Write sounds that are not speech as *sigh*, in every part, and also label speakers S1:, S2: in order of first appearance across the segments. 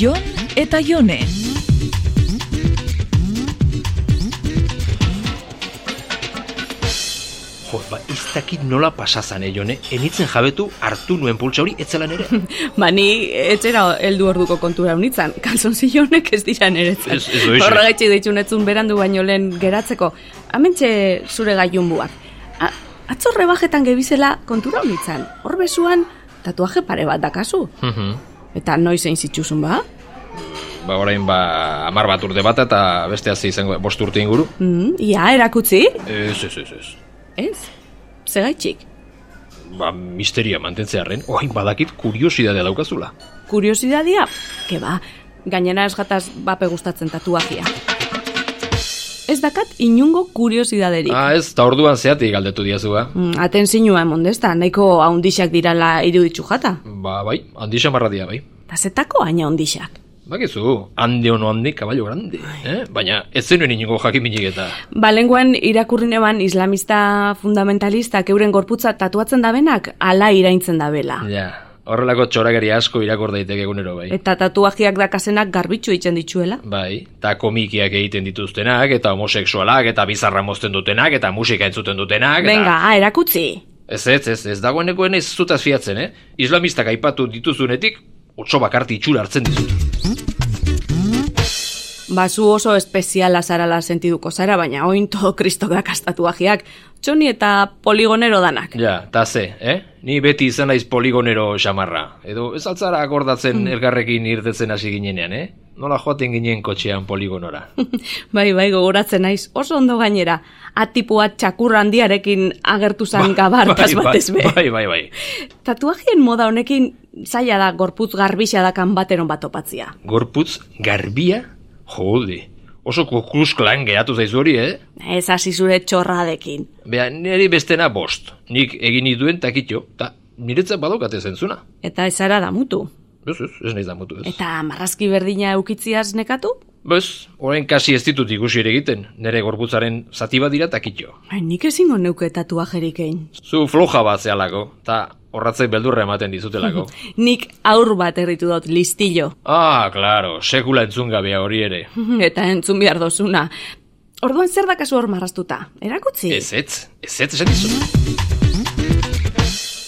S1: Jon eta Jone.
S2: Jo, ba, ez dakit nola pasazan, eh, Jone. Enitzen jabetu hartu nuen pultsa hori etzela nere.
S3: Ba, ni etxera heldu orduko kontura unitzan, kalzonzionek ez dira niretzat.
S2: Ez- ez hoxe.
S3: Horregaitxik deitzen etzun berandu baino lehen geratzeko. Hementxe zure gailunbuak. A- Atzo rebajetan gebizela kontura unitzan. Hor bezuan tatuaje pare bat dakazu.
S2: Mhm.
S3: Eta noiz egin zituzun ba?
S2: ba, orain, ba, amar bat urte bata eta beste hazi izango, bost urte inguru.
S3: Mm, ia, erakutzi?
S2: Ez, ez, ez, ez.
S3: Ez? Zegaitxik?
S2: Ba, misteria mantentzearen, oain badakit kuriosidadea daukazula.
S3: Kuriosidadia? Ke ba, gainera ez gataz bape gustatzen tatuajia. Ez dakat inungo kuriosidaderik.
S2: Ah, ez, ta orduan zeatik galdetu diazu, ba.
S3: Mm, atenzinua emon desta, nahiko haundixak dirala iruditzu jata.
S2: Ba, bai, handi xamarra dira, bai.
S3: Ta zetako haina haundixak.
S2: Bakizu, hande ono handi, kaballo grande, eh? Baina, ez zenuen inongo jakiminik eta...
S3: Ba, lenguan irakurri neban islamista fundamentalistak euren gorputza tatuatzen dabenak ala iraintzen dabela.
S2: Ja, horrelako txorakeria asko irakur daiteke egunero, bai.
S3: Eta tatuajiak dakazenak garbitxu egiten dituela.
S2: Bai, eta komikiak egiten dituztenak, eta homosexualak, eta bizarra mozten dutenak, eta musika entzuten dutenak. eta-
S3: Venga, ah, erakutzi.
S2: Ez, ez, ez, ez dagoenekoen ez zutaz fiatzen, eh? Islamistak aipatu dituzunetik, otso bakarti itxura hartzen dizut.
S3: Ba, zu oso espeziala zarala sentiduko zara, baina ointo *laughs* kristok dakaz tatuajiak. Txoni eta poligonero danak.
S2: Ja, eta ze, eh? Ni beti izan naiz poligonero xamarra. Edo ez altzara akordatzen elgarrekin irtetzen hasi ginenean, eh? Nola joaten ginen kotxean *laughs* poligonora.
S3: *laughs* bai, bai, gogoratzen naiz, oso ondo gainera. Atipua txakur handiarekin agertu zan gabartaz batez be.
S2: Ba, Bai, bai, bai.
S3: Tatuajien moda honekin zaila da gorputz garbisa dakan bateron bat opatzia.
S2: Gorputz garbia, jode. Oso kukusklan geratu zaizu hori, eh?
S3: Ez hasi zure txorradekin.
S2: Bea, niri bestena bost. Nik egin dituen takitxo, eta niretzat badokate zentzuna.
S3: Eta ez zara damutu.
S2: Ez, ez, ez nahiz damutu, ez.
S3: Eta marrazki berdina eukitziaz nekatu?
S2: Bez, orain kasi ez ditut ikusi ere egiten, nire gorputzaren zati bat dira takitxo.
S3: Ai, Ba, nik ezingo neuke tatuajerik egin.
S2: Zu floja bat zehalako, eta horratzei beldurra ematen dizutelako.
S3: Nik aur bat erritu dut listillo. *laughs*
S2: ah, klaro, sekula entzungabea hori ere.
S3: Eta entzun behar dozuna. Orduan zer dakazu hor marraztuta? Erakutzi?
S2: Ez ez, ez ez esan dizut.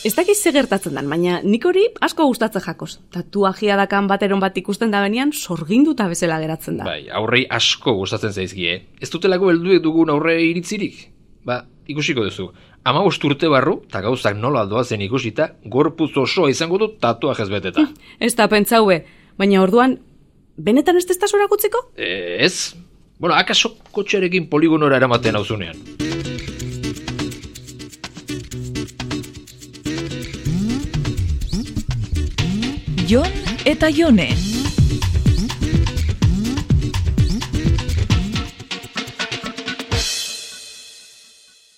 S3: Ez dakiz ze gertatzen den, baina nik hori asko gustatzen jakoz. Tatuajia dakan bateron bat ikusten da benean, sorginduta bezala geratzen da.
S2: Bai, aurrei asko gustatzen zaizkie. Ez dutelako helduek dugun aurre iritzirik. Ba, ikusiko duzu. Ama urte barru, eta gauzak nola doazen ikusita, gorpuz osoa izango du tatuajez beteta.
S3: Ez da pentsaue, baina orduan, benetan ez testaz orakutziko?
S2: Eh, Ez? Bueno, akaso kotxearekin poligonora eramaten hauzunean.
S1: Jon eta Jone.